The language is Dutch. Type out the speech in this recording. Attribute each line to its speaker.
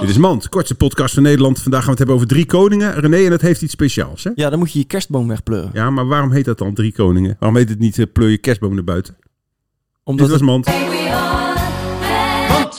Speaker 1: Dit is Mand, kortste podcast van Nederland. Vandaag gaan we het hebben over drie koningen. René, en dat heeft iets speciaals, hè?
Speaker 2: Ja, dan moet je je kerstboom wegpleuren.
Speaker 1: Ja, maar waarom heet dat dan drie koningen? Waarom heet het niet eh, pleur je kerstboom naar buiten?
Speaker 2: Omdat
Speaker 1: Dit
Speaker 2: het-
Speaker 1: was Mand.